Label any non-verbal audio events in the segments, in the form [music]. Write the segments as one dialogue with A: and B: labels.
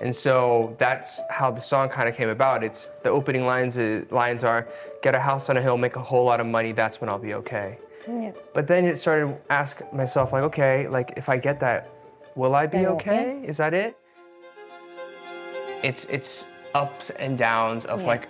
A: And so that's how the song kind of came about. It's the opening lines uh, lines are get a house on a hill, make a whole lot of money, that's when I'll be okay. But then it started ask myself like, okay, like if I get that, will I be
B: Then
A: okay? Is that it? It's it's ups and downs of like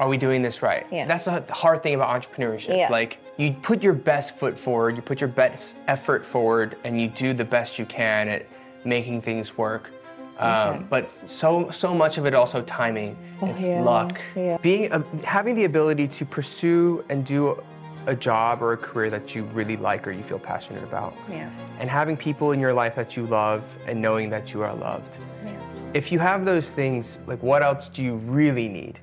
A: are we doing this right?
B: Yeah.
A: That's the hard thing about entrepreneurship.
B: Yeah.
A: Like you put your best foot forward, you put your best effort forward, and you do the best you can at making things work. Um, but so so much of it also timing. it's
B: Oh, yeah,
A: luck.
B: yeah.
A: Being a, having the ability to pursue and do a job or a career that you really like or you feel passionate about.
B: Yeah.
A: And having people in your life that you love and knowing that you are loved. If you have those things, like what else do you really need?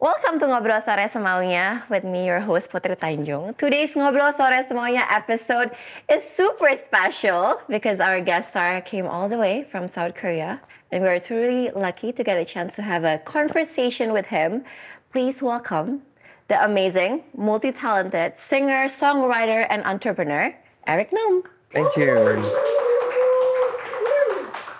B: Welcome to Ngobrol Sore Semaunya with me, your host Putri Tanjung. Today's Ngobrol Sore Semaunya episode is super special because our guest star came all the way from South Korea and we are truly lucky to get a chance to have a conversation with him. Please welcome the amazing, multi-talented singer, songwriter, and entrepreneur, Eric Nung.
A: Thank you.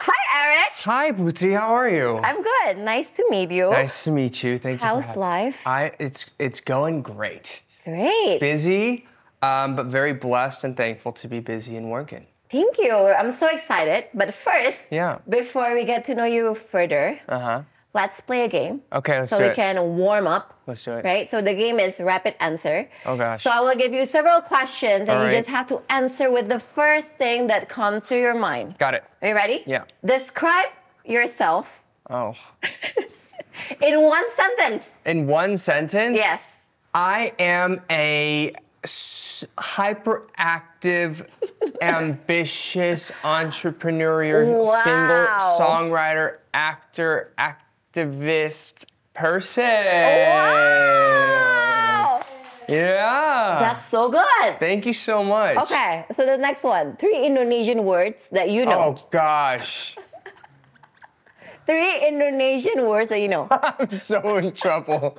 B: Hi, Eric.
A: Hi, Booty. How are you?
B: I'm good. Nice to meet you.
A: nice to meet you. Thank you. for
B: How's
A: having-
B: life?
A: I it's it's going great.
B: Great.
A: Busy, um, but very blessed and thankful to be busy and working.
B: Thank you. I'm so excited. But first,
A: Yeah.
B: before we get to know you further,
A: Uh huh.
B: let's play a game.
A: Okay, let's
B: so
A: do
B: we
A: it.
B: can warm up.
A: Let's do it.
B: Right? So the game is rapid answer.
A: Oh, gosh.
B: So I will give you several questions and
A: All
B: you
A: right.
B: just have to answer with the first thing that comes to your mind.
A: Got it.
B: Are you ready?
A: Yeah.
B: Describe yourself
A: Oh,
B: in one sentence.
A: in one sentence.
B: Yes.
A: I am a s-
B: [laughs]
A: hyperactive, ambitious, entrepreneurial, single
B: Wow.
A: songwriter, actor, activist person.
B: Wow.
A: Yeah.
B: That's so good.
A: Ah. Thank you so much.
B: Okay, so the next one. Three Indonesian words that you know.
A: Oh gosh, [laughs]
B: Three Indonesian words that you [laughs] know.
A: I'm so in trouble.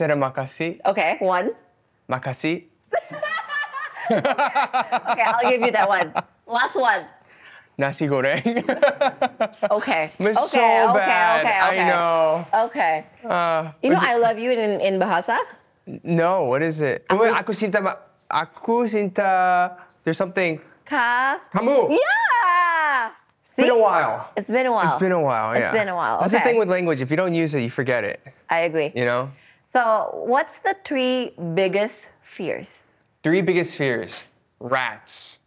A: Tere makasih,
B: Okay, one.
A: makasih.
B: Okay, I'll give you that one. Last one.
A: Nasi goreng. [laughs]
B: Okay.
A: It's
B: okay,
A: so bad. I know.
B: Okay.
A: Uh,
B: You know I love you in, in Bahasa?
A: no, what is it? Wait, aku cinta, ma- aku cinta. There's something.
B: Ka.
A: Kamu.
B: Yeah! It's
A: been a while.
B: It's been a while.
A: It's been a while. Yeah.
B: It's been a while.
A: That's the
B: okay.
A: thing with language. If you don't use it, you forget it.
B: I agree.
A: You know.
B: So, what's the three biggest fears?
A: Three biggest fears: rats.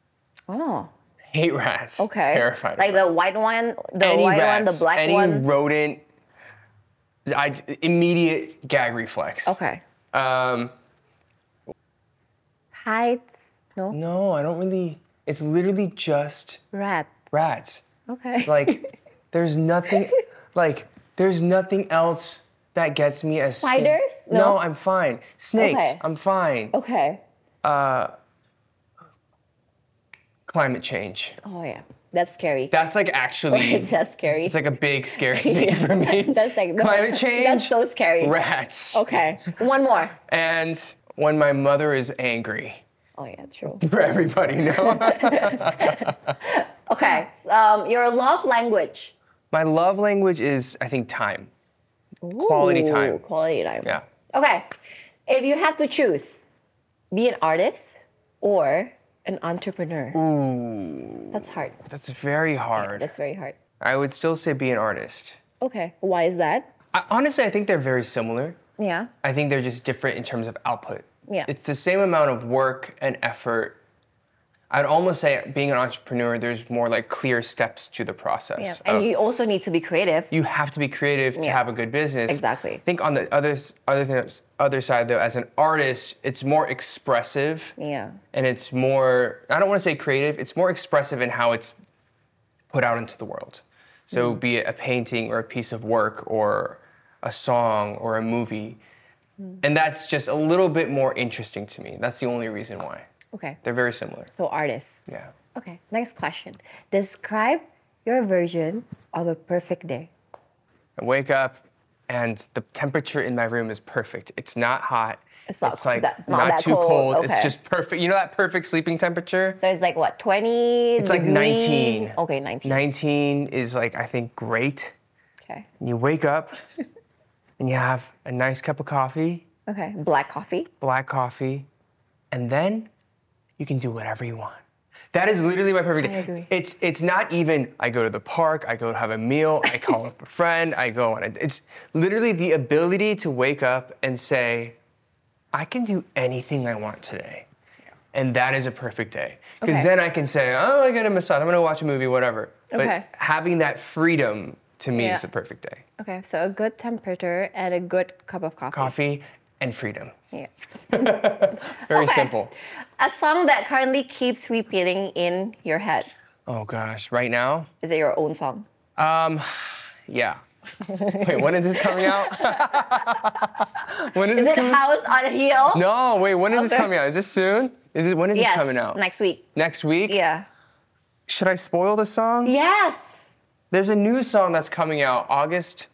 B: Oh,
A: Hate rats.
B: okay.
A: Terrified. of
B: Like
A: rats.
B: the white one, the
A: any
B: white
A: rats,
B: one, the black
A: any
B: one.
A: rodent. I immediate gag reflex.
B: okay.
A: Um,
B: Heights. No.
A: no, I don't really. It's literally just
B: Rat.
A: rats.
B: Okay.
A: Like, there's nothing. Like, there's nothing else that gets me as scared.
B: Spiders?
A: No.
B: No?
A: I'm fine. Snakes.
B: Okay.
A: I'm fine.
B: [laughs] okay.
A: Climate change.
B: Oh yeah, that's scary.
A: That's like actually.
B: [laughs] that's scary.
A: It's like a big
B: [laughs]
A: scary thing for me.
B: That's like no,
A: climate change.
B: That's so scary.
A: Rats.
B: Okay, one more.
A: And when my mother is angry. [laughs]
B: Oh yeah, true.
A: For everybody, no.
B: [laughs] Okay, um, your love language.
A: My love language is, I think, time. Quality
B: Ooh,
A: time.
B: Quality time.
A: Yeah.
B: Okay, if you had to choose, be an artist or an entrepreneur. That's hard.
A: That's very hard.
B: That's very hard.
A: I would still say be an artist.
B: Okay, why is that?
A: I, honestly, I think they're very similar.
B: Yeah.
A: I think they're just different in terms of output.
B: Yeah.
A: It's the same amount of work and effort. I'd almost say being an entrepreneur, there's more like clear steps to the
B: yeah.
A: process.
B: And
A: of-
B: you also need to be creative.
A: you have to be creative to
B: Yeah.
A: have a good business.
B: Exactly.
A: I think on the other s- other thing, other side though, as an artist, it's more expressive.
B: Yeah.
A: And it's more I don't want to say creative, it's more expressive in how it's put out into the world. So
B: Mm.
A: be it a painting or a piece of work or a song or a movie.
B: Mm.
A: And that's just a little bit more interesting to me. That's the only reason why.
B: Okay.
A: They're very similar.
B: So artists.
A: Yeah.
B: Okay, next question. Describe your version of a perfect day.
A: I wake up and the temperature in my room is perfect. It's not hot.
B: It's not
A: like
B: that- not
A: not,
B: that
A: too
B: cold.
A: cold.
B: Okay.
A: It's just perfect. You know that perfect sleeping temperature?
B: So it's like what, 20?
A: It's like 19.
B: Okay, 19.
A: 19 is like I think great.
B: Okay.
A: And you wake
B: [laughs]
A: up and you have a nice cup of coffee,
B: Okay. Black coffee.
A: black coffee, and then you can do whatever you want. That is literally my perfect day.
B: I agree.
A: It's it's not even I go to the park, I go have a meal, I call up a
B: [laughs]
A: friend, I go on a it's literally the ability to wake up and say, I can do anything I want today. And that is a perfect day. Because
B: Okay.
A: then I can say, oh, I got a massage, I'm gonna watch a movie, whatever.
B: Okay.
A: But having that freedom to me is
B: Yeah.
A: a perfect day.
B: Okay, so a good temperature and a good cup of coffee.
A: Coffee and freedom.
B: Yeah.
A: Very
B: Okay.
A: simple.
B: A song that currently keeps repeating in your head.
A: Oh gosh, right now?
B: Is it your own song? [laughs]
A: Yeah. Wait, when is this coming out? [laughs] when is,
B: Is
A: this
B: it
A: coming
B: House on a Hill?
A: No, wait, when is
B: Okay.
A: this coming out? Is this soon? Is it when is
B: yes,
A: this coming out?
B: Next week.
A: Next week?
B: Yeah.
A: Should I spoil the song?
B: Yes.
A: There's a new song that's coming out August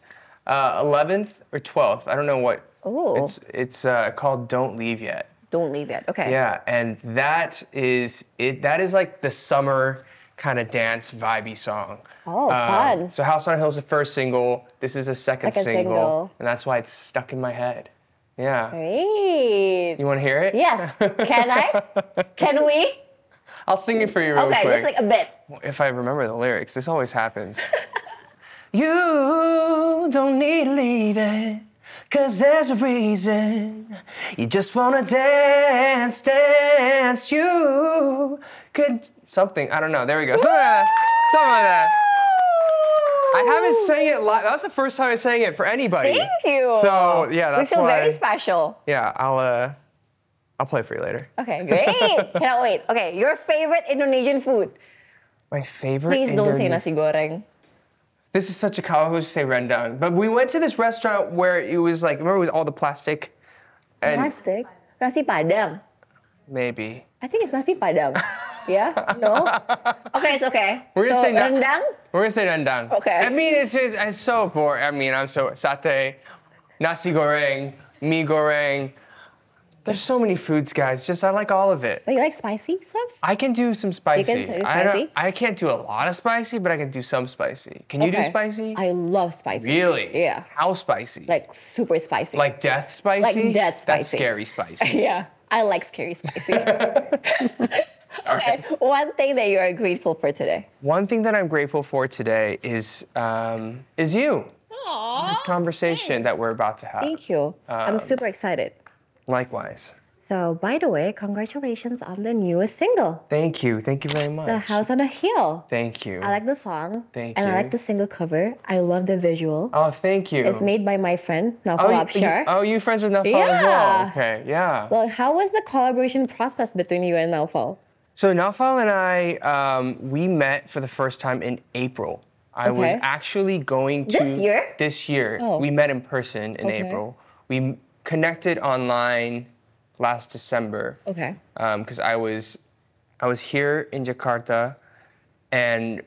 A: uh, 11th or 12th. I don't know what.
B: Ooh.
A: It's it's uh, called Don't Leave Yet.
B: Don't leave yet. Okay.
A: Yeah, and that is it. That is like the summer kind of dance vibey song. Um,
B: Oh, fun.
A: So House on a Hill is the first single. This is the second,
B: Second single.
A: and that's why it's stuck in my head. Yeah.
B: Great.
A: You want to hear it? [laughs]
B: Yes. Can I? Can we?
A: I'll sing it for you real
B: Okay,
A: quick.
B: just like a bit.
A: if I remember the lyrics, this always happens. [laughs] you don't need leaving, cause there's a reason. You just wanna dance, dance, you could. Something, I don't know, there we go. Some of that, some of that. I haven't sang it live, that was the first time I sang it for anybody.
B: Thank you.
A: So, yeah, that's
B: we feel
A: why.
B: very special.
A: yeah, I'll, uh, I'll play for you later.
B: Okay,
A: [laughs]
B: great. Cannot wait. Okay, your favorite Indonesian food.
A: My favorite.
B: Please don't say
A: Indonesian-
B: nasi goreng.
A: This is such a Kawagoose say rundown. But we went to this restaurant where it was like, remember it was all the plastic? And
B: Plastic. Nasi padang.
A: maybe.
B: I think it's
A: [laughs]
B: nasi padang. yeah? No? Okay, it's okay.
A: We're gonna
B: so,
A: say na-
B: rendang?
A: We're gonna say rendang.
B: Okay.
A: I mean, it's, it's, it's so boring. I mean, I'm so, satay, nasi goreng, mi goreng. There's so many foods, guys. Just, I like all of it.
B: But Oh, you like spicy stuff?
A: I can do some spicy.
B: do
A: I, don't,
B: spicy?
A: I can't do a lot of spicy, but I can do some spicy. Can you do
B: Okay.
A: spicy?
B: I love spicy.
A: really?
B: Yeah.
A: How spicy?
B: Like super spicy.
A: Like death spicy?
B: death
A: That's
B: spicy.
A: scary spicy.
B: yeah. I like
A: [laughs]
B: scary spicy. [laughs] okay, one thing that you are grateful for today.
A: One thing that I'm grateful for today is um, is you.
B: Aww.
A: This conversation that we're about to have.
B: Oh, Thank you.
A: Um,
B: I'm super excited.
A: Likewise.
B: So, by the way, congratulations on the newest single,
A: Thank you. Thank you very much.
B: The House on a Hill.
A: Thank you.
B: I like the song.
A: Thank
B: and I
A: you.
B: like the single cover. I love the visual.
A: oh, thank you.
B: It's made by my friend,
A: Oh,
B: Nafal
A: you,
B: Abshar.
A: you, oh, you friends with Nafal as well?
B: Yeah.
A: Okay, yeah.
B: Well, how was the collaboration process between you and Nafal?
A: So Nafal and I, um, we met for the first time in April. I was
B: Okay.
A: actually going to
B: This year?
A: This year,
B: Oh.
A: we met in person in
B: Okay.
A: April. We m- connected online last December.
B: Okay.
A: because Um, I was I was here in Jakarta, and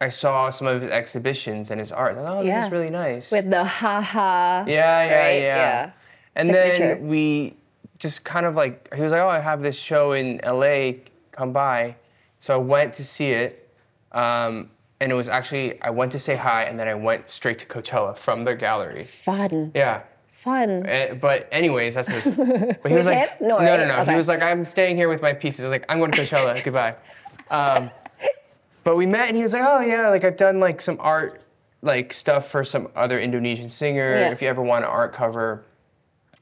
A: I saw some of his exhibitions and his art. Oh, this
B: Yeah.
A: is really nice.
B: With the haha.
A: yeah, yeah,
B: right?
A: yeah,
B: Yeah.
A: And
B: Signature.
A: then we just kind of like he was like, "Oh, I have this show in LA. Come by." So I went to see it, um, and it was actually I went to say hi, and then I went straight to Coachella from their gallery.
B: Fun.
A: Yeah.
B: Fun.
A: Eh, but anyways, that's
B: [laughs]
A: his. But he was
B: Mm-hmm. With
A: like,
B: him? No,
A: no,
B: right?
A: no, no.
B: Okay.
A: He was like, I'm staying here with my pieces. I was like, I'm going to
B: [laughs]
A: Coachella. Goodbye. Um, but we met, and he was like, oh yeah, like I've done like some art, like stuff for some other Indonesian singer.
B: Yeah.
A: If you ever want an art cover.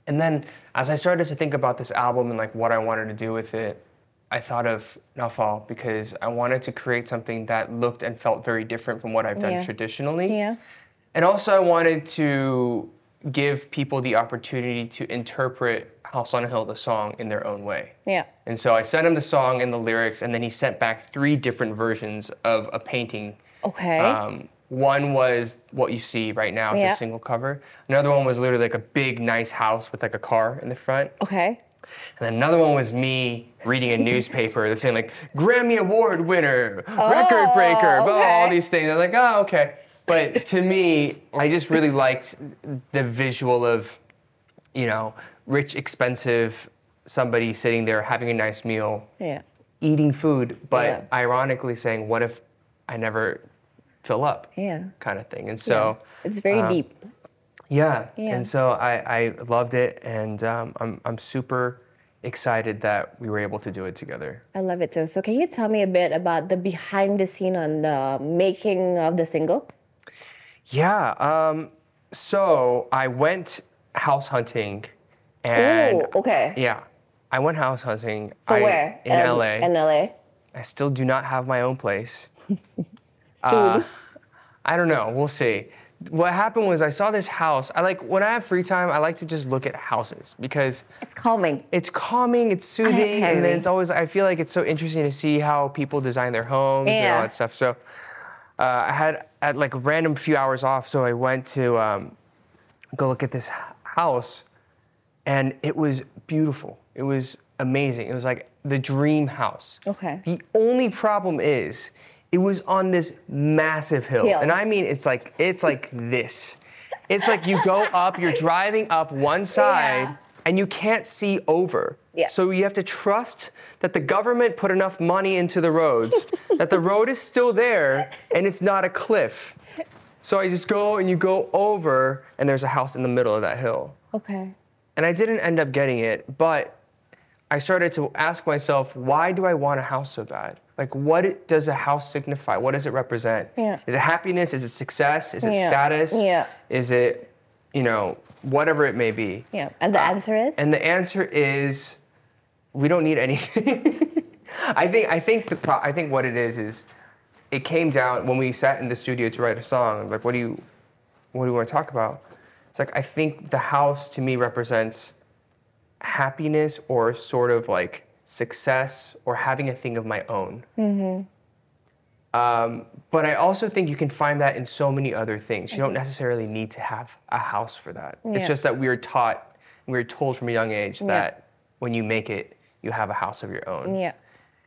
A: And then as I started to think about this album and like what I wanted to do with it, I thought of Nafal because I wanted to create something that looked and felt very different from what I've done
B: Yeah.
A: traditionally.
B: Yeah.
A: And also, I wanted to give people the opportunity to interpret House on a Hill, the song, in their own way.
B: Yeah.
A: And so I sent him the song and the lyrics, and then he sent back three different versions of a painting.
B: Okay.
A: Um, one was what you see right now, it's
B: Yeah.
A: a single cover. Another one was literally like a big, nice house with like a car in the front.
B: okay.
A: And then another one was me reading a newspaper that's saying like Grammy Award winner, record breaker, blah, blah, all
B: Oh, okay.
A: these things. I was like, oh, okay. But to me, I just really liked the visual of, you know, rich, expensive somebody sitting there having a nice meal,
B: Yeah.
A: eating food, but
B: Yeah.
A: ironically saying, what if I never fill up?
B: Yeah.
A: Kind of thing. And so
B: It's
A: uh,
B: very deep.
A: yeah.
B: Yeah.
A: And so I, I loved it, and um, I'm, I'm super excited that we were able to do it together.
B: I love it too. So, can you tell me a bit about the behind the scene on the making of the single?
A: Yeah. Um, so I went house hunting, and
B: Ooh, okay.
A: yeah, I went house hunting.
B: So
A: I-
B: where?
A: In
B: Um,
A: LA.
B: In LA.
A: I still do not have my own place. Uh, I don't know. We'll see. What happened was I saw this house. I like when I have free time. I like to just look at houses because
B: It's calming.
A: it's calming, it's soothing, and
B: agree.
A: then it's always. I feel like it's so interesting to see how people design their homes and all
B: Yeah.
A: that stuff. So, uh, I had at like a random few hours off, so I went to um, go look at this h- house, and it was beautiful. It was amazing. It was like the dream house.
B: Okay.
A: The only problem is, it was on this massive hill,
B: Hill.
A: and I mean it's like it's like this. It's like you go up, you're driving up one side
B: Yeah.
A: and you can't see over.
B: Yeah.
A: So you have to trust that the government put enough money into the roads that the road is still there and it's not a cliff. So I just go and you go over and there's a house in the middle of that hill.
B: Okay.
A: And I didn't end up getting it, but I started to ask myself, why do I want a house so bad? Like, what it- does a house signify? What does it represent?
B: Yeah.
A: Is it happiness? Is it success? Is it
B: Yeah.
A: status?
B: Yeah.
A: Is it, you know, whatever it may be? Uh,
B: Yeah. And the answer is?
A: And the answer is, we don't need anything. [laughs] I think I think the pro- I think what it is is, it came down when we sat in the studio to write a song. Like, what do you, what do we want to talk about? It's like I think the house to me represents happiness or sort of like success or having a thing of my own. Um, but I also think you can find that in so many other things. You don't necessarily need to have a house for that. It's
B: Yeah.
A: just that we are taught, we are told from a young age that when you make it, you have a house of your own.
B: yeah.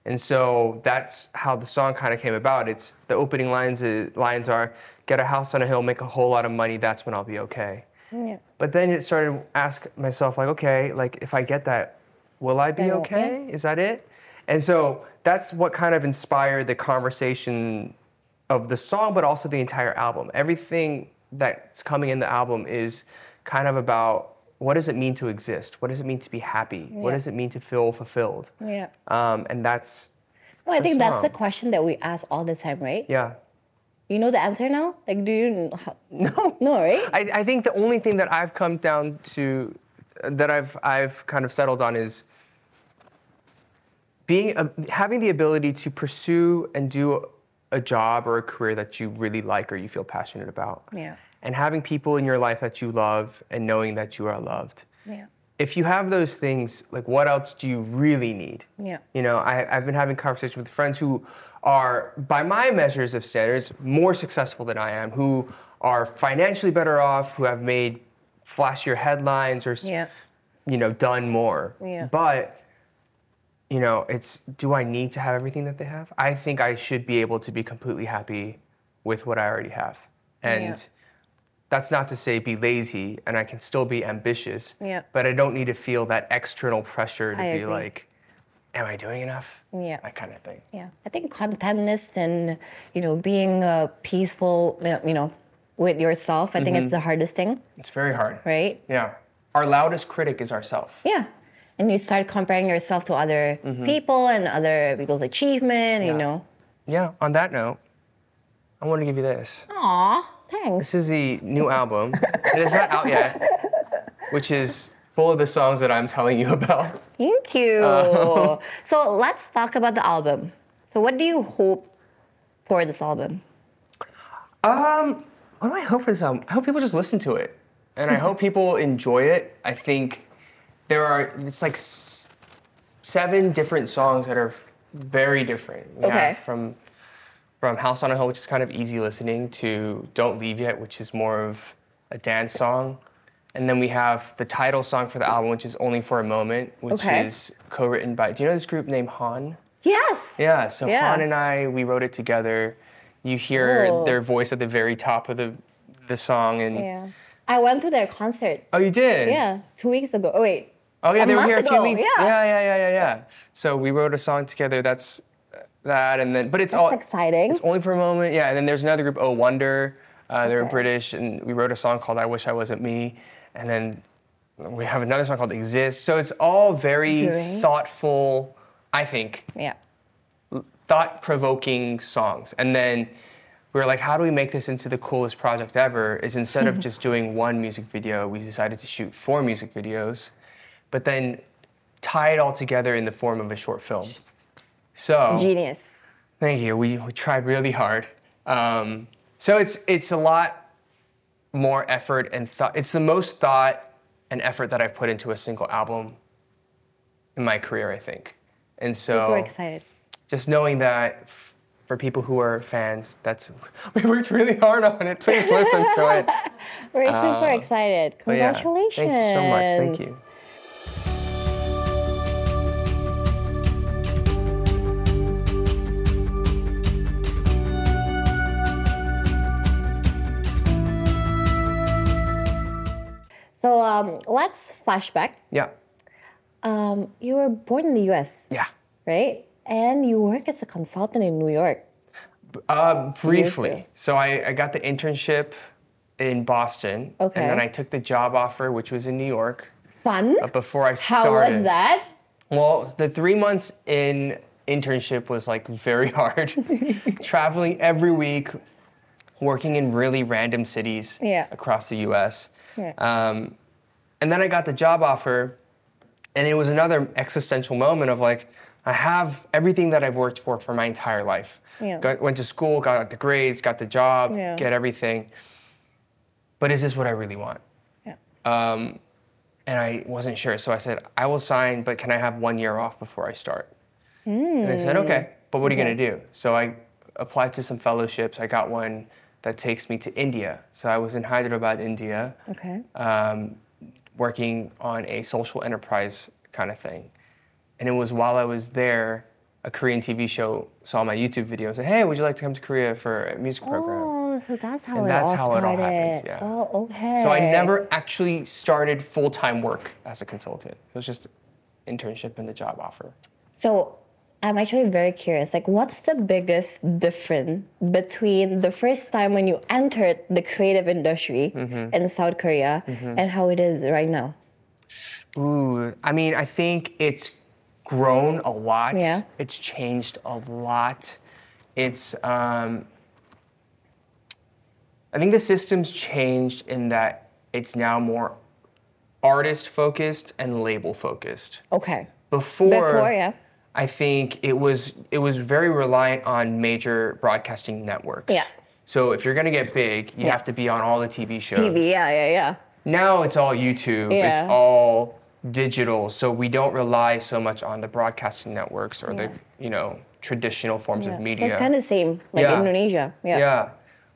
A: And so that's how the song kind of came about. It's the opening lines i- lines are get a house on a hill, make a whole lot of money, that's when I'll be okay.
B: Yeah.
A: But then it started to ask myself like, okay, like if I get that, will I be
B: Then what?
A: okay? Is that it? And so that's what kind of inspired the conversation of the song, but also the entire album. Everything that's coming in the album is kind of about what does it mean to exist? What does it mean to be happy? What
B: Yeah.
A: does it mean to feel fulfilled?
B: Yeah.
A: Um, and that's
B: Well, I think that's the
A: wrong?
B: question that we ask all the time, right?
A: yeah.
B: You know the answer now? Like, do you know? How, [laughs] no. No, right?
A: I, I think the only thing that I've come down to, that I've I've kind of settled on is being a, having the ability to pursue and do a job or a career that you really like or you feel passionate about.
B: Yeah.
A: And having people in your life that you love and knowing that you are loved.
B: Yeah.
A: If you have those things, like what else do you really need?
B: Yeah.
A: You know, I, I've been having conversations with friends who are, by my measures of standards, more successful than I am, who are financially better off, who have made flashier headlines or, s-
B: Yeah.
A: you know, done more.
B: Yeah.
A: But, you know, it's do I need to have everything that they have? I think I should be able to be completely happy with what I already have. And that's not to say be lazy and I can still be ambitious,
B: Yeah.
A: but I don't need to feel that external pressure to
B: I
A: be
B: agree.
A: like, am I doing enough?
B: Yeah.
A: That kind of thing.
B: Yeah, I think contentness and you know being uh, peaceful, you know- you know, with yourself. I
A: Mm-hmm.
B: think it's the hardest thing,
A: It's very hard.
B: right?
A: Yeah. Our loudest critic is ourself.
B: Yeah, and you start comparing yourself to other people and other people's achievement. You
A: Mm-hmm. Yeah.
B: know.
A: Yeah. On that note, I want to give you this.
B: Aw, thanks.
A: This is the new album. it is not out yet, which is full of the songs that I'm telling you [laughs] about.
B: Thank you. so let's talk about the album. So what do you hope for this album?
A: Um, what do I hope for this album? I hope people just listen to it, and I hope people enjoy it. I think there are it's like s- seven different songs that are f- very different. We have
B: Okay.
A: From from House on a Hill, which is kind of easy listening, to Don't Leave Yet, which is more of a dance song, And then we have the title song for the album, which is Only for a Moment, which
B: Okay.
A: is co written by, do you know this group named Han?
C: Yes.
A: Yeah, so
B: Yeah.
A: Han and I, we wrote it together. You hear
B: Cool.
A: their voice at the very top of the the song, and
B: Yeah. I went to their concert.
A: oh, you did?
B: Yeah, two weeks ago. Oh wait,
A: Oh yeah,
B: A
A: they were
B: month
A: here a few
B: ago,
A: weeks.
B: yeah.
A: yeah, yeah, yeah, yeah, yeah. So we wrote a song together. That's uh, that, and then but it's all
B: exciting.
A: It's only for a moment. Yeah, and then there's another group, Oh Wonder. Uh, They're
B: Okay.
A: British, and we wrote a song called "I Wish I Wasn't Me," and then we have another song called "Exist." So it's all very
B: Great.
A: thoughtful, I think,
B: yeah.
A: thought-provoking songs. And then we were like, "How do we make this into the coolest project ever?" Is instead
B: [laughs]
A: of just doing one music video, we decided to shoot four music videos, but then tie it all together in the form of a short film. So
B: Genius.
A: Thank you. We, we tried really hard. Um, so it's it's a lot more effort and thought. It's the most thought and effort that I've put into a single album in my career, I think. And
B: Super
A: so
B: excited.
A: just knowing that f- for people who are fans, that's [laughs] we worked really hard on it. Please listen to
B: [laughs]
A: it.
B: We're super excited.
A: But Uh, oh, yeah,
B: Congratulations.
A: Thank you so much. Thank you.
B: So um, let's flashback.
A: Yeah.
B: Um, you were born in the U.S.,
A: Yeah.
B: right? And you work as a consultant in New York.
A: Uh, briefly.
B: ago.
A: So I, I got the internship in Boston, and then
B: Okay.
A: I took the job offer, which was in New York.
B: Fun.
A: But before I
B: How
A: started,
B: was that?
A: Well, the three months in internship was like very [laughs] hard.
B: [laughs]
A: Traveling every week, working in really random cities
B: Yeah.
A: across the US.
B: Yeah.
A: Um, and then I got the job offer, and it was another existential moment of like, I have everything that I've worked for for my entire life.
B: Yeah.
A: Got, went to school, got the grades, got the job,
B: Yeah.
A: get everything. But is this what I really want?
B: Yeah.
A: Um, and I wasn't sure. So I said, I will sign, but can I have one year off before I start? And they
B: Hmm.
A: said, okay, but what are you going to do? So I applied to some fellowships. I got one that takes me to India. So I was in Hyderabad, India,
B: Okay.
A: um, working on a social enterprise kind of thing. And it was while I was there, a Korean TV show saw my YouTube video and said, hey, would you like to come to Korea for a music program?
B: Oh, so that's how
A: And
B: it
A: that's
B: all
A: how it
B: started.
A: all happens, yeah.
B: Oh, okay.
A: So I never actually started full time work as a consultant. It was just internship and the job offer.
B: So I'm actually very curious. Like, what's the biggest difference between the first time when you entered the creative industry
A: Mm-hmm.
B: in South Korea and how it is right now?
A: Ooh, I mean, I think it's grown a lot.
B: Yeah.
A: It's changed a lot. It's, um, I think the system's changed in that it's now more artist focused and label focused.
B: Okay.
A: Before,
B: Before, yeah.
A: I think it was it was very reliant on major broadcasting networks.
B: Yeah.
A: So if you're gonna get big, you
B: Yeah.
A: have to be on all the TV shows.
B: TV, yeah, yeah, yeah.
A: Now it's all YouTube. It's
B: Yeah.
A: all digital. So we don't rely so much on the broadcasting networks or the you know traditional forms
B: Yeah.
A: of
B: So
A: media.
B: it's kind of the same, like
A: Yeah.
B: Indonesia. Yeah.
A: Yeah.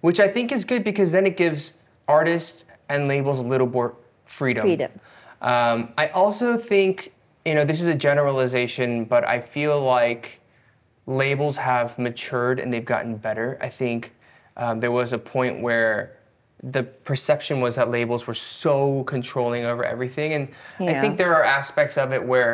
A: Which I think is good because then it gives artists and labels a little more freedom.
B: Freedom.
A: Um, I also think, you know, this is a generalization, but I feel like labels have matured and they've gotten better. I think um, there was a point where the perception was that labels were so controlling over everything. And I
B: Yeah.
A: think there are aspects of it where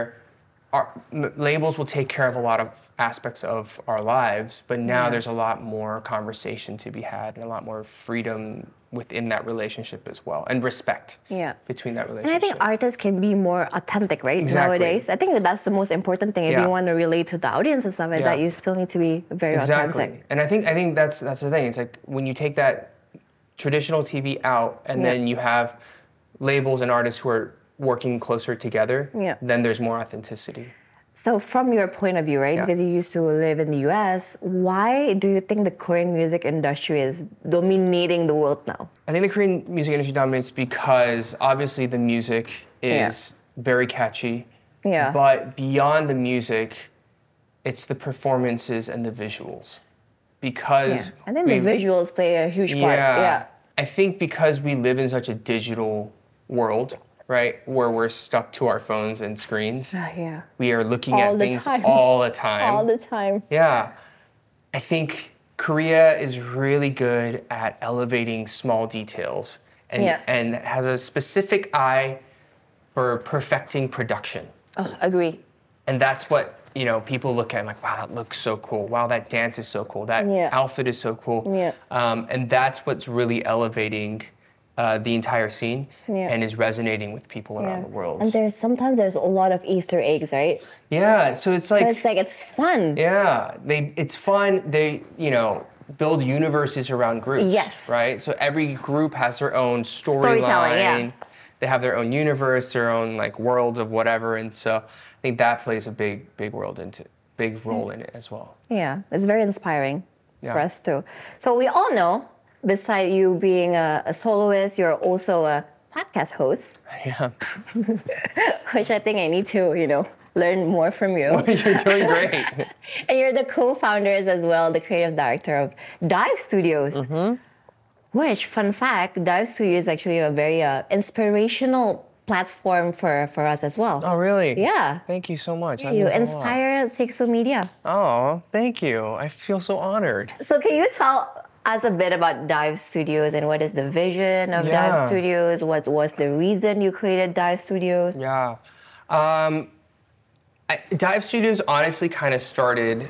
A: our, m- labels will take care of a lot of aspects of our lives, but now there's a lot more conversation to be had and a lot more freedom within that relationship as well, and respect
B: Yeah.
A: between that
B: And I
A: relationship.
B: think artists can be more authentic, right?
A: Exactly.
B: Nowadays, I think that that's the most important thing. If
A: Yeah.
B: you want to relate to the audience and stuff like
A: Yeah.
B: that, you still need to be very
A: exactly.
B: authentic.
A: And I think I think that's that's the thing. It's like when you take that traditional TV out, and
B: Yeah.
A: then you have labels and artists who are working closer together.
B: Yeah.
A: Then there's more authenticity.
B: So, from your point of view, right?
A: Yeah.
B: Because you used to live in the US, why do you think the Korean music industry is dominating the world now?
A: I think the Korean music industry dominates because obviously the music
B: Yeah.
A: is very catchy.
B: Yeah.
A: But beyond the music, it's the performances and the visuals. Because
B: I think the
A: we've-
B: visuals play a huge part.
A: yeah,
B: Yeah.
A: I think because we live in such a digital world, right? Where we're stuck to our phones and
B: [sighs]
A: screens.
B: Ah, yeah.
A: We are looking
B: All
A: at
B: the
A: things
B: time.
A: all
B: [laughs]
A: the time.
B: All the time.
A: Yeah. I think Korea is really good at elevating small details and,
B: Yeah.
A: and has a specific eye for perfecting production.
B: Oh, agree.
A: And that's what, you know, people look at and like, wow, that looks so cool. Wow, that dance is so cool. That
B: Yeah.
A: outfit is so cool.
B: Yeah.
A: Um, and that's what's really elevating uh, the entire scene
B: Yeah.
A: and is resonating with people around the world.
B: And there's sometimes there's a lot of Easter eggs, right?
A: yeah. So it's like
B: So it's like it's fun.
A: Yeah, they. It's fun. They, you know, build universes around groups.
B: Yes.
A: Right. So every group has their own
D: Storytelling, yeah.
A: storyline. They have their own universe, their own like worlds of whatever, and so I think that plays a big, big world into, big role
B: Mm.
A: in it as well.
B: Yeah, it's very inspiring for
A: Yeah.
B: us too.
D: So we all know, beside you being a, a soloist, you're also a podcast host,
A: Yeah, [laughs]
B: [laughs] Which I think I need to, you know, learn more from you.
A: you're doing great.
B: and you're the co-founders as well, the creative director of Dive Studios.
A: Mm-hmm.
B: Which, fun fact, Dive Studios is actually a very uh, inspirational platform for, for us as well.
A: [laughs] Oh, really?
B: Yeah.
A: Thank you so much.
B: You inspire Sixo Media.
A: Oh, thank you. I feel so honored.
B: So can you tell us a bit about Dive Studios and what is the vision of
A: Yeah.
B: Dive Studios? What was the reason you created Dive Studios?
A: Yeah. Um, I, Dive Studios honestly kind of started,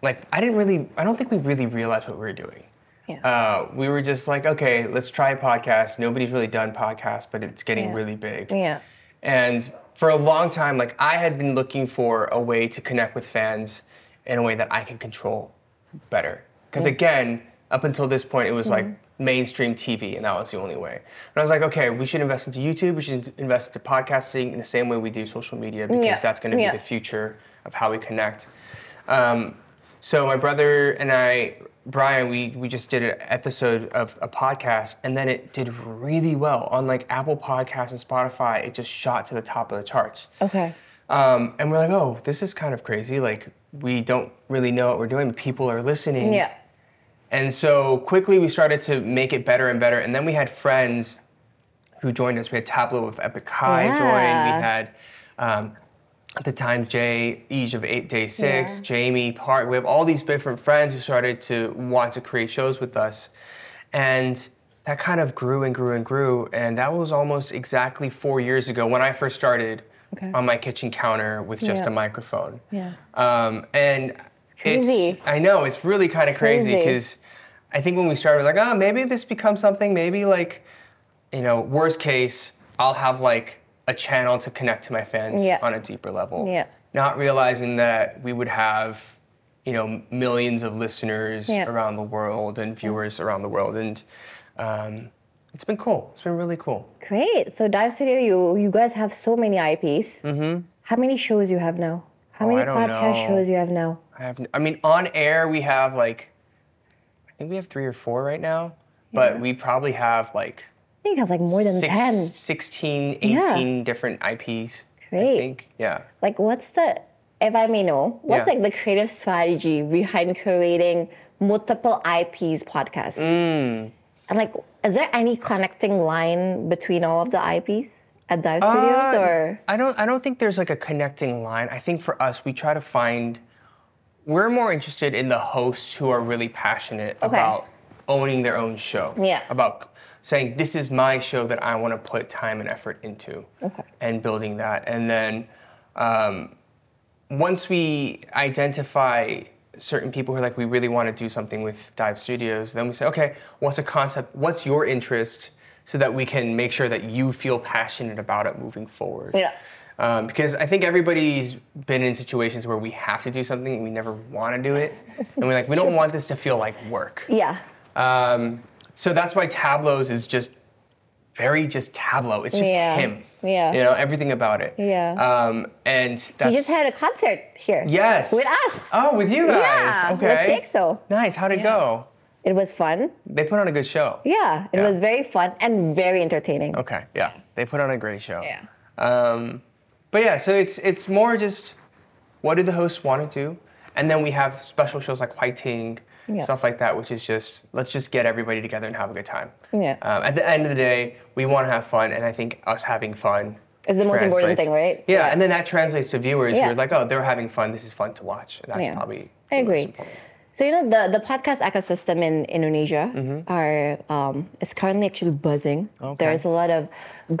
A: like, I didn't really, I don't think we really realized what we were doing.
B: Yeah.
A: Uh, we were just like, okay, let's try a podcast. Nobody's really done podcasts, but it's getting
B: Yeah.
A: really big.
B: Yeah.
A: And for a long time, like, I had been looking for a way to connect with fans in a way that I can control better. Because
B: Mm.
A: again, up until this point, it was like
B: Mm-hmm.
A: mainstream TV, and that was the only way. And I was like, okay, we should invest into YouTube. We should invest into podcasting in the same way we do social media because
B: Yeah.
A: that's going to be
B: Yeah.
A: the future of how we connect. Um, so my brother and I, Brian, we we just did an episode of a podcast, and then it did really well on like Apple Podcasts and Spotify. It just shot to the top of the charts.
B: Okay.
A: Um, and we're like, oh, this is kind of crazy. Like, we don't really know what we're doing. but People are listening.
B: Yeah.
A: And so quickly we started to make it better and better. And then we had friends who joined us. We had Tableau with Epic High join.
B: Yeah.
A: We had, um, at the time, Jay, each of Eight Day Six,
B: Yeah.
A: Jamie, Park. We have all these different friends who started to want to create shows with us. And that kind of grew and grew and grew. And that was almost exactly four years ago when I first started
B: Okay.
A: on my kitchen counter with just
B: Yeah.
A: a microphone.
B: Yeah.
A: Um, and
B: Crazy.
A: it's I know it's really kind of crazy
B: Crazy.
A: because I think when we started, we're like, oh, maybe this becomes something. Maybe like, you know, worst case, I'll have like a channel to connect to my fans
B: Yeah.
A: on a deeper level.
B: Yeah.
A: Not realizing that we would have, you know, millions of listeners
B: Yeah.
A: around the world and viewers around the world, and um, it's been cool. It's been really cool.
B: Great. So Dive Studio, you you guys have so many IPs. Mm-hmm. How many shows you have now? How
A: Oh,
B: many
A: I don't
B: podcast
A: know.
B: shows you have now?
A: I have. I mean, on air we have like, I think we have three or four right now, but we probably have like
B: I think you have like more than
A: six,
B: ten.
A: 16,
B: Yeah.
A: 18 different IPs. I
B: Great.
A: think. Yeah.
B: Like, what's the if I may know, what's
A: Yeah.
B: like the creative strategy behind creating multiple IPs podcasts?
A: Mm.
B: And like, is there any connecting line between all of the IPs at Dive Studios
A: Uh,
B: or?
A: I don't. I don't think there's like a connecting line. I think for us, we try to find. We're more interested in the hosts who are really passionate about owning their own show.
B: Yeah.
A: About saying this is my show that I want to put time and effort into, and building that, and then. Um, once we identify certain people who are like we really want to do something with dive studios then we say okay what's a concept what's your interest so that we can make sure that you feel passionate about it moving forward
B: Yeah.
A: um, because i think everybody's been in situations where we have to do something and we never want to do it and we're like we don't want this to feel like work
B: Yeah.
A: um, so that's why Tableau's is just very just Tableau. It's just
B: Yeah.
A: him.
B: Yeah.
A: You know, everything about it.
B: Yeah.
A: Um, and that's.
B: You just had a concert here.
A: Yes.
B: With us.
A: Oh, with you guys.
B: Yeah, with
A: okay.
B: Sixo.
A: Nice. How'd it go?
B: It was fun.
A: They put on a good show.
B: Yeah, it
A: Yeah.
B: was very fun and very entertaining.
A: Okay. Yeah. They put on a great show. Um, but yeah, so it's it's more just what do the hosts want to do, And then we have special shows like Whiting,
B: Yeah.
A: stuff like that, which is just let's just get everybody together and have a good time.
B: Yeah.
A: Um, at the end of the day, we want to have fun, and I think us having fun
B: Is the most important
A: translates-
B: thing, right?
A: Yeah,
B: Yeah.
A: and then that translates to viewers.
B: Yeah.
A: You're like, oh, they're having fun. This is fun to watch. That's
B: Yeah.
A: probably.
B: I
A: the most
B: agree.
A: important.
B: So you know the the podcast ecosystem in Indonesia are um, it's currently actually buzzing.
A: Mm-hmm. Okay.
B: There's a lot of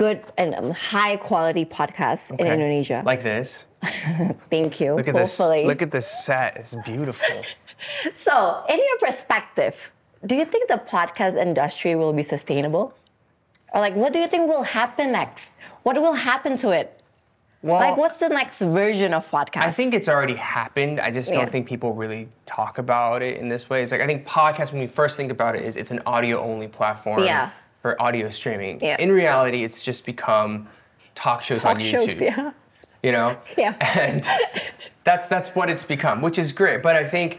B: good and um, high quality podcasts in
A: Okay.
B: Indonesia.
A: Like this.
B: Thank you.
A: Look at
B: hopefully.
A: this. Look at this set. It's
B: [laughs]
A: beautiful.
B: so, in your perspective, do you think the podcast industry will be sustainable? Or like what do you think will happen next? What will happen to it?
A: Well,
B: like what's the next version of podcast?
A: I think it's already happened. I just don't
B: Yeah.
A: think people really talk about it in this way. It's like I think podcasts when we first think about it is it's an audio only platform
B: Yeah.
A: for audio streaming.
B: Yeah.
A: In reality, it's just become talk shows
B: Talk
A: on
B: shows,
A: YouTube.
B: yeah.
A: You know?
B: [laughs] Yeah.
A: [laughs] And that's that's what it's become, which is great. But I think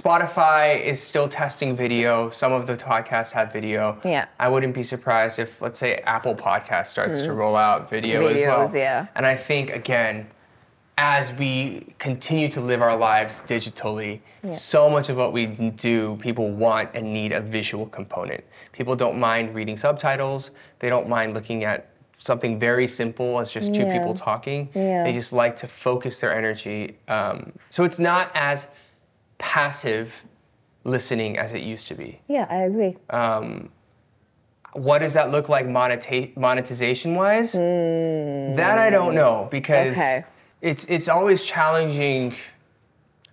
A: Spotify is still testing video. Some of the podcasts have video.
B: Yeah.
A: I wouldn't be surprised if let's say Apple Podcast starts to roll out video as well.
B: Hmm. Videos, yeah.
A: And I think again, as we continue to live our lives digitally, so much of what we do, people want and need a visual component. People don't mind reading subtitles, they don't mind looking at something very simple as just two
B: Yeah.
A: people talking.
B: Yeah.
A: They just like to focus their energy. Um, so it's not as passive listening as it used to be
B: Yeah, I agree.
A: what does that look like moneta- monetization wise? That I don't know because
B: Hmm. Okay.
A: it's it's always challenging.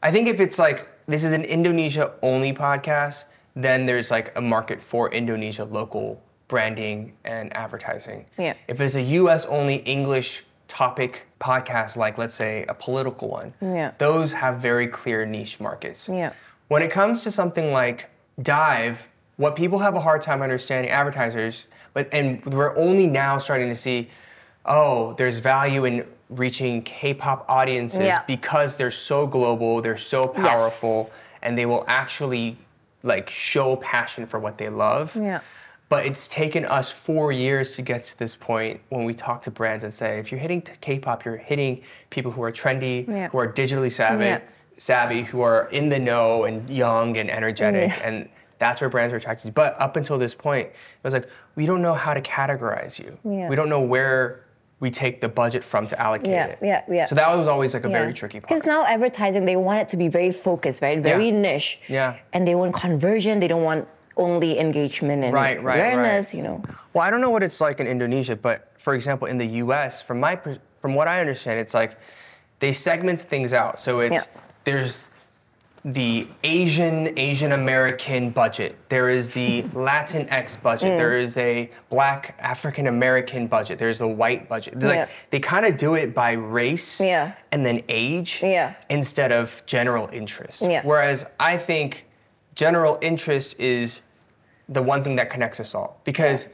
A: I think if it's like this is an Indonesia only podcast, then there's like a market for Indonesia local branding and advertising.
B: Yeah.
A: If it's a US only English topic podcast like let's say a political one,
B: Yeah.
A: those have very clear niche markets.
B: Yeah.
A: When it comes to something like Dive, what people have a hard time understanding, advertisers, but and we're only now starting to see, oh, there's value in reaching K-pop audiences
B: Yeah.
A: because they're so global, they're so powerful, and they will actually like show passion for what they love.
B: Yeah.
A: But it's taken us four years to get to this point when we talk to brands and say, if you're hitting t- K-pop, you're hitting people who are trendy,
B: Yeah.
A: who are digitally savvy,
B: Yeah.
A: savvy, who are in the know and young and energetic, and that's where brands are attracted. But up until this point, it was like we don't know how to categorize you.
B: Yeah.
A: We don't know where we take the budget from to allocate
B: Yeah,
A: it.
B: yeah, yeah.
A: So that was always like a very tricky part.
B: Because now advertising, they want it to be very focused, right? Very niche.
A: Yeah.
B: And they want conversion. They don't want only engagement and
A: Right, right, right.
B: awareness. You know.
A: Well, I don't know what it's like in Indonesia, but for example, in the U.S., from my pers- from what I understand, it's like they segment things out. So it's
B: Yeah.
A: there's the Asian Asian American budget. There is
B: [laughs]
A: the Latinx budget.
B: Mm.
A: There is a Black African American budget. There's the white budget. They're Like
B: Yeah.
A: they kind of do it by race
B: Yeah.
A: and then age
B: Yeah.
A: instead of general interest.
B: Yeah.
A: Whereas I think general interest is the one thing that connects us all because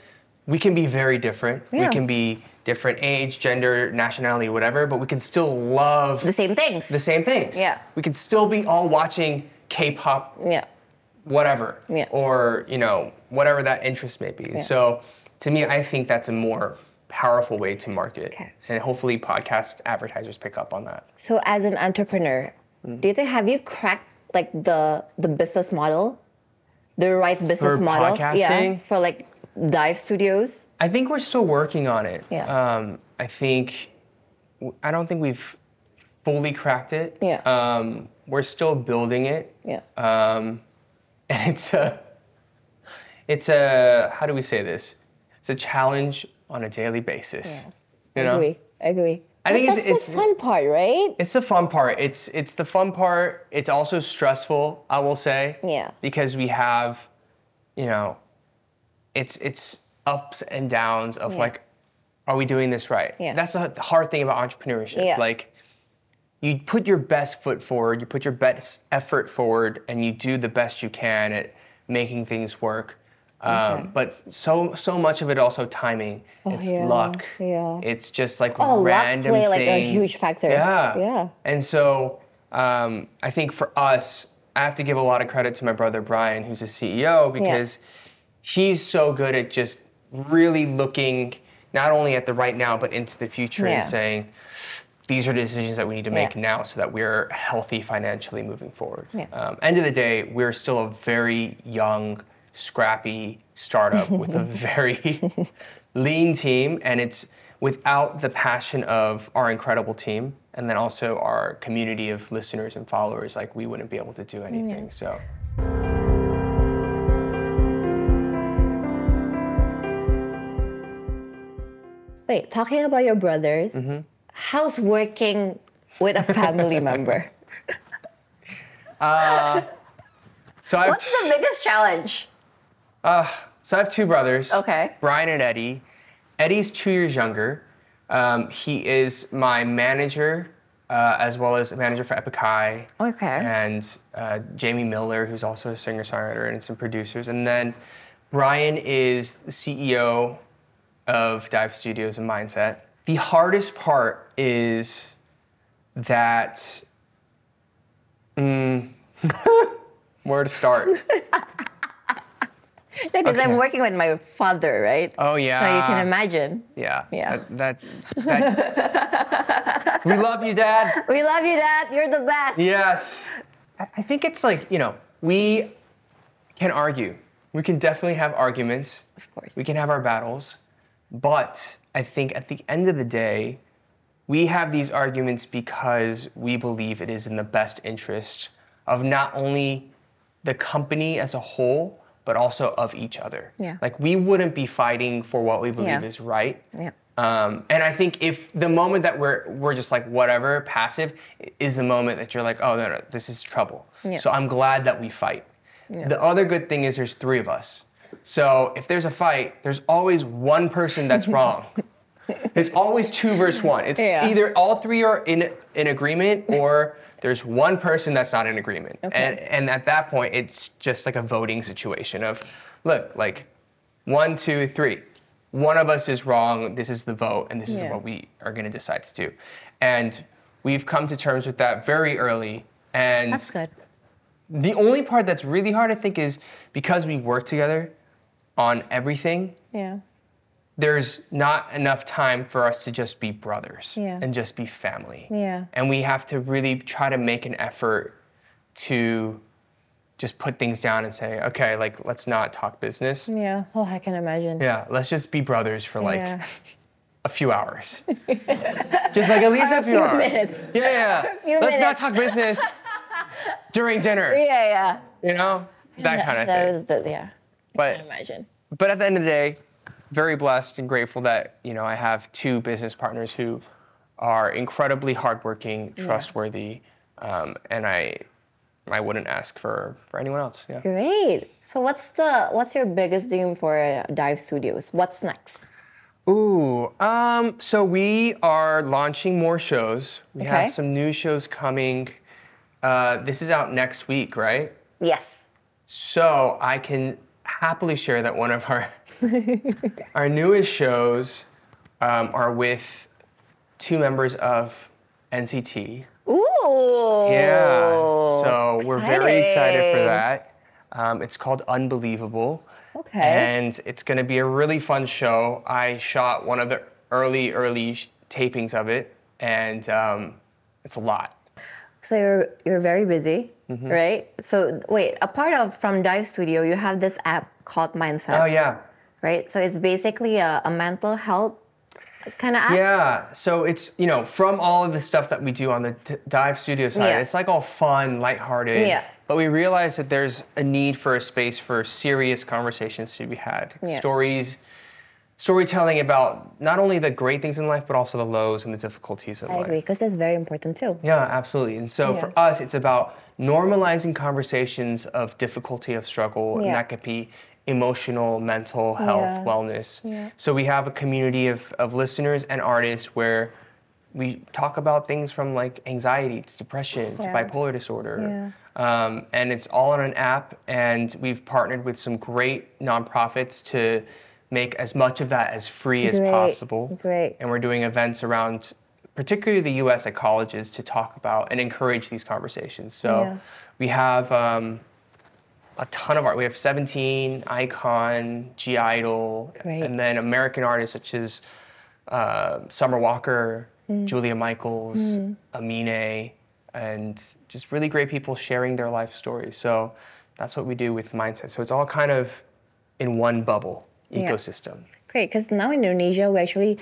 A: we can be very different.
B: Yeah.
A: We can be different age, gender, nationality, whatever, but we can still love
B: The same things.
A: the same things.
B: Yeah.
A: We could still be all watching K-pop,
B: yeah.
A: whatever,
B: Yeah.
A: or you know whatever that interest may be. So, to me, I think that's a more powerful way to market,
B: Okay.
A: and hopefully, podcast advertisers pick up on that.
B: So as an entrepreneur, do you think have you cracked like the the business model, the right business model? Yeah.
A: podcasting?
B: For like dive studios.
A: I think we're still working on it.
B: Yeah.
A: Um, I think I don't think we've fully cracked it.
B: Yeah.
A: Um, we're still building it.
B: Yeah.
A: Um, [laughs] and it's a, it's a, how do we say this? It's a challenge on a daily basis. You know,
B: agree. Agree.
A: I think
B: But
A: it's-
B: that's the
A: it's-
B: fun part, right?
A: it's the fun part. It's it's the fun part. It's also stressful, I will say.
B: Yeah.
A: Because we have, you know, it's it's ups and downs of
B: Yeah.
A: like, are we doing this right?
B: Yeah.
A: That's the hard thing about entrepreneurship.
B: Yeah.
A: Like, you put your best foot forward, you put your best effort forward, and you do the best you can at making things work. Um, But so so much of it also timing. it's
B: Oh, yeah,
A: luck.
B: yeah.
A: It's just like
B: Oh, luck
A: random
B: play, like, a
A: thing.
B: huge factor.
A: Yeah.
B: Yeah.
A: And so um, I think for us, I have to give a lot of credit to my brother Brian, who's a CEO, because he's so good at just really looking not only at the right now but into the future
B: Yeah.
A: and saying, these are decisions that we need to make
E: Yeah.
A: now so that we're healthy financially moving forward.
E: Yeah.
A: Um, end of the day, we're still a very young, scrappy startup
E: [laughs]
A: with a very [laughs] lean team, and it's without the passion of our incredible team and then also our community of listeners and followers, like we wouldn't be able to do anything. So.
E: Wait, talking about your brothers,
A: Mm-hmm.
E: how's working with a
B: [laughs]
E: family member?
A: So I've
B: What's the biggest challenge?
A: So I have two brothers.
B: Okay.
A: Brian and Eddie. Eddie's two years younger. Um, he is my manager, uh, as well as a manager for Epikai.
E: Okay.
A: And uh, Jamie Miller, who's also a singer-songwriter and some producers. And then Brian is the CEO of Dive Studios and Mindset. The hardest part is that. Mm, [laughs] where to start?
E: Because I'm
A: Okay.
E: working with my father, right?
A: Oh
E: So you
A: yeah.
E: can imagine.
A: Yeah.
E: Yeah.
A: That. that,
E: [laughs]
A: that- we love you, Dad.
E: We love you, Dad. You're the best.
A: Yes. I I think it's like you know we can argue. We can definitely have arguments. Of
E: course.
A: We can have our battles, but I think at the end of the day, we have these arguments because we believe it is in the best interest of not only the company as a whole, but also of each other.
E: Yeah.
A: Like we wouldn't be fighting for what we believe
E: Yeah.
A: is right.
E: Yeah.
A: Um, and I think if the moment that we're we're just like whatever passive is the moment that you're like oh no no this is trouble.
E: Yeah.
A: So I'm glad that we fight. The other good thing is there's three of us. So if there's a fight, there's always one person
E: [laughs]
A: that's wrong. it's always two versus one. It's
E: Yeah.
A: either all three are in in agreement or there's one person that's not in agreement. And and at that point it's just like a voting situation of look, like one, two, three. One of us is wrong. This is the vote, and this is
E: Yeah.
A: what we are going to decide to do. And we've come to terms with that very early. And
E: That's good.
A: the only part that's really hard, I think, is because we work together on everything,
E: Yeah.
A: there's not enough time for us to just be brothers
E: Yeah.
A: and just be family.
E: Yeah.
A: And we have to really try to make an effort to just put things down and say, okay, like, let's not talk business.
E: Yeah. Oh, I can imagine.
A: Yeah, let's just be brothers for like
E: Yeah.
A: a few hours. just like at least a few hours.
E: minutes.
A: Yeah,
E: [laughs]
A: yeah.
E: few
A: let's not
E: minutes.
A: talk business
E: [laughs]
A: during dinner.
E: Yeah, yeah.
A: You know, that kind of
E: That
A: thing.
E: was the- yeah. I
A: But
E: can imagine.
A: but at the end of the day, very blessed and grateful that you know I have two business partners who are incredibly hardworking, trustworthy, um, and I I wouldn't ask for for anyone else. Yeah.
E: Great. So what's the what's your biggest dream for uh, Dive Studios? What's next?
A: Ooh, um, so we are launching more shows. We
E: Okay.
A: have some new shows coming. Uh, this is out next week, right?
B: Yes.
A: So I can happily share that one of our our newest shows um, are with two members of NCT.
B: Ooh.
A: Yeah. So we're very excited for
B: exciting.
A: that. Um, it's called Unbelievable.
E: Okay.
A: And it's going to be a really fun show. I shot one of the early, early sh- tapings of it, and um, it's a lot.
E: So you're you're very busy,
A: Mm-hmm.
E: right? So wait, apart of from Dive Studio, you have this app called Mindset,
A: Oh, yeah.
E: right? So it's basically a, a mental health kind of app.
A: Yeah. So it's, you know, from all of the stuff that we do on the d- Dive Studio side,
E: Yeah.
A: it's like all fun, lighthearted.
E: Yeah.
A: But we realized that there's a need for a space for serious conversations to be had.
E: Yeah.
A: Stories, storytelling about not only the great things in life, but also the lows and the difficulties in
E: I
A: life.
E: agree, because that's very important too.
A: Yeah, absolutely. And so for
E: Yeah.
A: us, it's about normalizing conversations of difficulty, of struggle,
E: Yeah.
A: and that could be emotional, mental health,
E: Yeah.
A: wellness.
E: Yeah.
A: So we have a community of, of listeners and artists where we talk about things from like anxiety to depression to
E: Yeah.
A: bipolar disorder. Um, and it's all on an app, and we've partnered with some great nonprofits to make as much of that as free as
E: Great,
A: possible.
E: great.
A: And we're doing events around particularly the US at colleges to talk about and encourage these conversations. So
E: Yeah.
A: we have um, a ton of art. We have 17, Icon, G Idol,
E: Great.
A: and then American artists such as uh, Summer Walker,
E: Mm.
A: Julia Michaels, Amine, and just really great people sharing their life stories. So that's what we do with mindset. So it's all kind of in one bubble ecosystem.
E: Great, because now in Indonesia we actually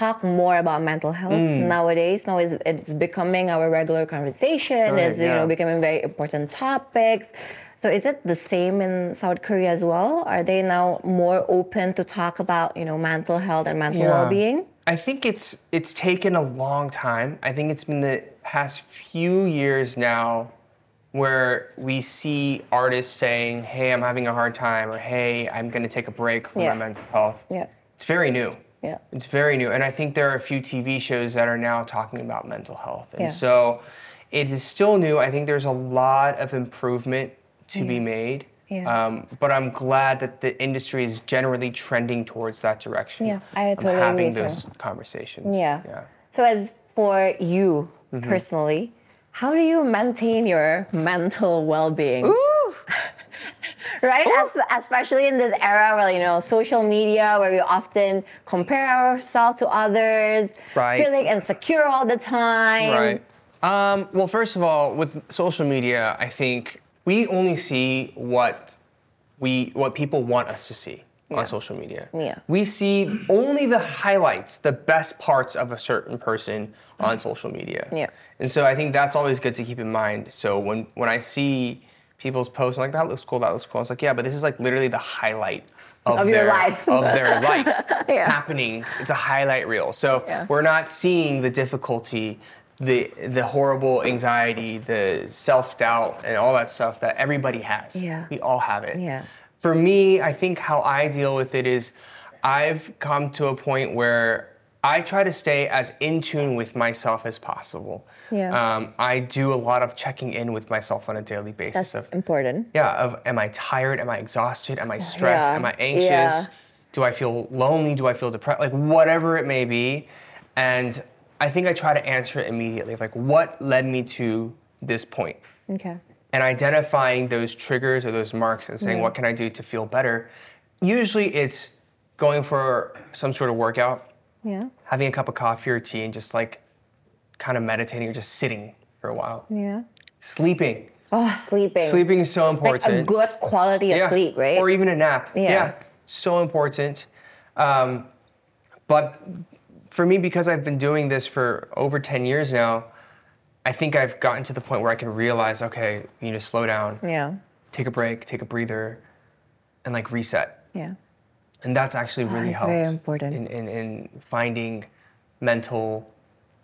E: talk more about mental health
A: Mm.
E: nowadays. Now it's, it's becoming our regular conversation.
A: Right,
E: it's you know
A: yeah.
E: becoming very important topics. So is it the same in South Korea as well? Are they now more open to talk about you know mental health and mental
A: Yeah.
E: well-being?
A: I think it's it's taken a long time. I think it's been the past few years now where we see artists saying, "Hey, I'm having a hard time," or "Hey, I'm going to take a break from
E: Yeah.
A: my mental health."
E: Yeah.
A: It's very new.
E: Yeah.
A: It's very new, and I think there are a few TV shows that are now talking about mental health, and
E: Yeah.
A: so it is still new. I think there's a lot of improvement to be made.
E: Yeah.
A: Um, but I'm glad that the industry is generally trending towards that direction.
E: Yeah, I
A: I'm
E: totally
A: having
E: agree,
A: those conversations.
E: Yeah.
A: Yeah.
E: So as for you
A: Mm-hmm.
E: personally, how do you maintain your mental well-being? [laughs]
B: right? As, especially in this era where, you know,
E: social media where we often compare ourselves to others,
A: Right.
E: feeling insecure all the time.
A: Right. Um, well, first of all, with social media, I think we only see what we what people want us to see on social media.
E: Yeah.
A: We see only the highlights, the best parts of a certain person on social media.
E: Yeah.
A: And so I think that's always good to keep in mind. So when when I see people's posts, I'm like that looks cool, that looks cool. I was like, yeah, but this is like literally the highlight of,
E: Of your
A: their-
E: life.
A: of
E: [laughs]
A: their life
E: Yeah.
A: happening. It's a highlight reel. So
E: Yeah.
A: we're not seeing the difficulty, the the horrible anxiety, the self doubt, and all that stuff that everybody has.
E: Yeah.
A: We all have it.
E: Yeah.
A: For me, I think how I deal with it is, I've come to a point where I try to stay as in tune with myself as possible.
E: Yeah.
A: Um, I do a lot of checking in with myself on a daily basis.
E: That's
A: of,
E: important.
A: yeah of am i tired am i exhausted am i stressed
E: Yeah.
A: am i anxious
E: Yeah.
A: do i feel lonely do i feel depressed like whatever it may be and i think i try to answer it immediately like what led me to this point
E: Okay.
A: and identifying those triggers or those marks and
E: Mm.
A: saying what can i do to feel better usually it's going for some sort of workout
E: Yeah.
A: having a cup of coffee or tea and just like kind of meditating or just sitting for a while
E: Yeah.
A: sleeping
E: Oh, sleeping.
A: sleeping is so
E: Like
A: important
E: a good quality of
A: yeah.
E: sleep, right?
A: Or even a nap.
E: Yeah.
A: So important. Um, but for me, because I've been doing this for over 10 years now, I think I've gotten to the point where I can realize, okay, you need to slow down,
E: yeah.
A: take a break, take a breather, and like reset.
E: Yeah.
A: And that's actually really
E: that's
A: helped.
E: very important.
A: In, in, in finding mental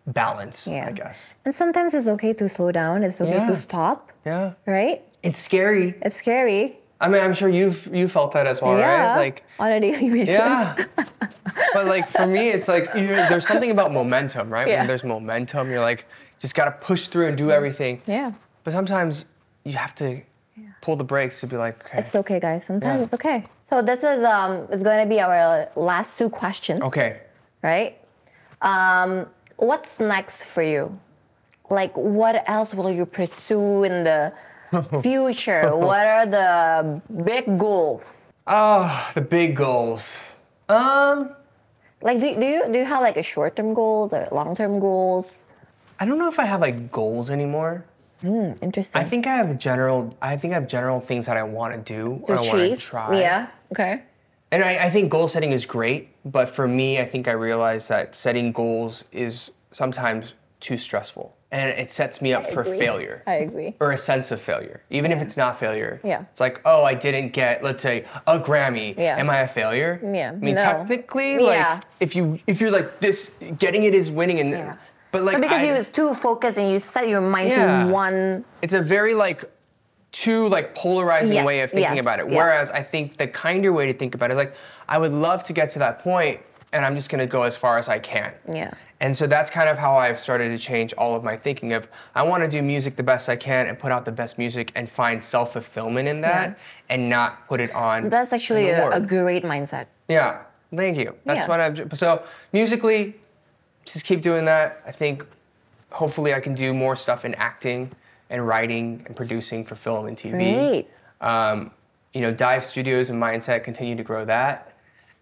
A: balance,
E: Yeah.
A: I guess.
E: And sometimes it's okay to slow down. It's okay to
A: Yeah.
E: stop,
A: Yeah.
E: right?
A: It's scary.
E: It's scary.
A: I mean, I'm sure you've you felt that as well,
E: yeah.
A: right? Like
E: on a daily basis.
A: Yeah. [laughs] but like for me, it's like you there's something about momentum, right?
E: Yeah.
A: When there's momentum, you're like just gotta push through and do everything.
E: Yeah.
A: But sometimes you have to pull the brakes to be like, okay,
E: It's okay, guys. Sometimes
A: Yeah.
E: it's okay.
B: so this is um, it's going to be our last two questions.
A: okay,
B: right? Um, what's next for you? Like, what else will you pursue in
A: [laughs]
B: the future? what are the big goals?
A: oh, the big goals. Um,
B: Like, do, do you do you have like a short term goals or long term goals?
A: I don't know if I have like goals anymore.
E: Interesting.
A: I think I have general. I think I have general things that I want to do or I want to
B: Achieve?
A: try.
B: Yeah. Okay.
A: And I, I think goal setting is great, but for me, I think I realized that setting goals is sometimes too stressful and it sets me up for failure
E: I agree.
A: or a sense of failure, even if it's not failure.
E: Yeah.
A: It's like, oh, I didn't get, let's say, a Grammy.
E: Yeah.
A: Am I a failure?
E: Yeah,
A: I mean,
E: no.
A: technically, like,
B: Yeah.
A: if you if you're like this, getting it is winning, and
B: Yeah.
A: but like
B: But because
A: I-
B: you was too focused and you set your mind
A: Yeah.
B: to one.
A: it's a very like too like polarizing
B: Yes,
A: way of thinking
B: yes,
A: about it.
B: yeah.
A: Whereas I think the kinder way to think about it is like I would love to get to that point and I'm just gonna go as far as I can.
B: Yeah.
A: And so that's kind of how I've started to change all of my thinking of I want to do music the best I can and put out the best music and find self-fulfillment in that and not put it on
B: That's actually
A: an
B: a, a
A: award.
B: great mindset.
A: Yeah. Thank you. That's
B: Yeah.
A: what I've ju- so musically, just keep doing that. I think hopefully I can do more stuff in acting and writing and producing for film and TV.
B: Great.
A: Um, you know, Dive Studios and Mindset continue to grow that.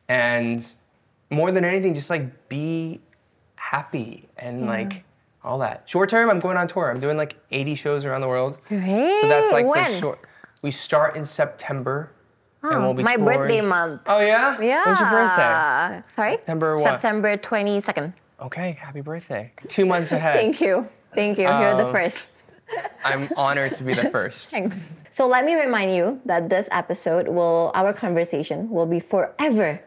A: And more than anything, just like be happy and like all that. Short term, I'm going on tour. I'm doing like 80 shows around the world. So that's like the
B: When?
A: short. We start in September, and
B: Oh,
A: we'll be
B: my
A: touring.
B: birthday month.
A: Oh yeah.
B: Yeah.
A: When's your birthday?
B: Sorry?
A: September what?
B: September 22nd.
A: Okay, happy birthday. Two
B: [laughs]
A: months ahead.
B: Thank you. Thank you. You're the
A: Um,
B: first.
A: I'm honored to be
B: [laughs]
A: the first.
E: Thanks.
B: So let me remind you that this episode will, our conversation will be forever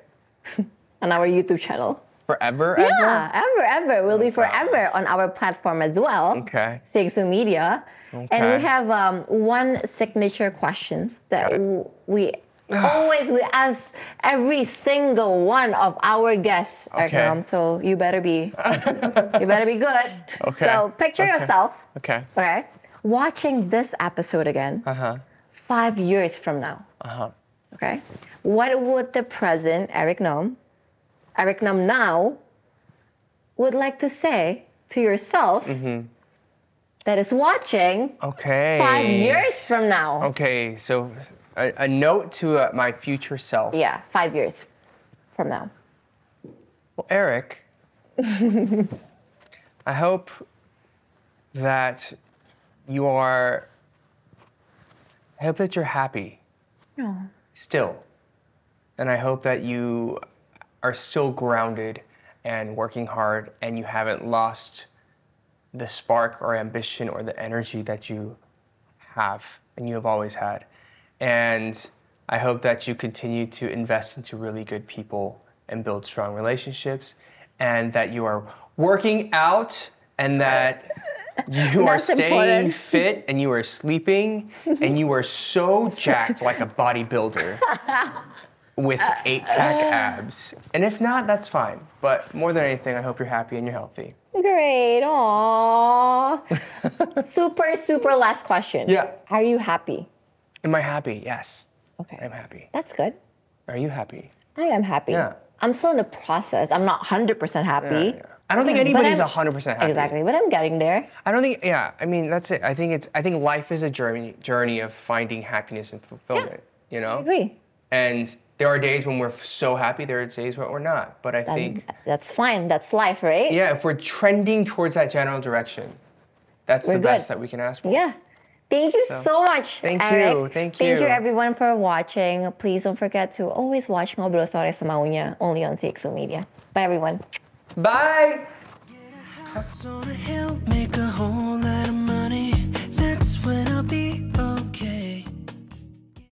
B: [laughs] on our YouTube channel.
A: Forever.
B: Yeah, ever, ever. Will be
A: God.
B: forever on our platform as well.
A: Okay.
B: Seizu Media. And
A: Okay.
B: we have um, one signature questions that
A: Got it.
B: w-
A: [sighs]
B: we always we ask every single one of our guests,
A: Okay.
B: Akram. So you better be you better be good.
A: [laughs] Okay.
B: So picture
A: Okay.
B: yourself,
A: Okay.
B: okay, watching this episode again
A: Uh huh.
B: five years from now.
A: Uh huh.
B: Okay. What would the present Eric Nam, Eric Nam now, would like to say to yourself that is watching
A: Okay.
B: five years from now?
A: Oh. Okay, so a, a note to uh, my future self.
B: Yeah, five years from now.
A: Well, Eric, I hope that you are. I hope that you're happy still. And I hope that you are still grounded and working hard and you haven't lost the spark or ambition or the energy that you have and you have always had. And I hope that you continue to invest into really good people and build strong relationships and that you are working out and that you are
B: That's
A: staying
B: important.
A: fit and you are sleeping and you are so jacked like a bodybuilder with eight pack abs. And if not, that's fine. But more than anything, I hope you're happy and you're healthy.
B: Great. Aww. super, super last question.
A: Yeah.
B: Are you happy?
A: Am I happy? Yes.
B: Okay.
A: I'm happy.
B: That's good.
A: Are you happy?
B: I am happy.
A: Yeah.
B: I'm still in the process. I'm not 100% happy.
A: Yeah, yeah. I don't think anybody's
B: I'm-
A: 100% happy.
B: Exactly, but I'm getting there.
A: I don't think yeah, I mean that's it. I think it's I think life is a journey journey of finding happiness and fulfillment, you know?
B: agree.
A: And there are days when we're f- so happy, there are days when we're not. But I think
B: That's fine. That's life, right?
A: yeah, if we're trending towards that general direction, that's the
B: We're
A: best
B: good.
A: that we can ask for.
B: Yeah. Thank you so,
A: So,
B: much,
A: thank
B: Eric.
A: you, thank
B: Thank you,
A: you.
B: everyone, for watching. Please don't forget to always watch Ngobrol Sore Sama Unya, only on CXO Media. Bye, everyone.
A: Bye.
F: house on a hill.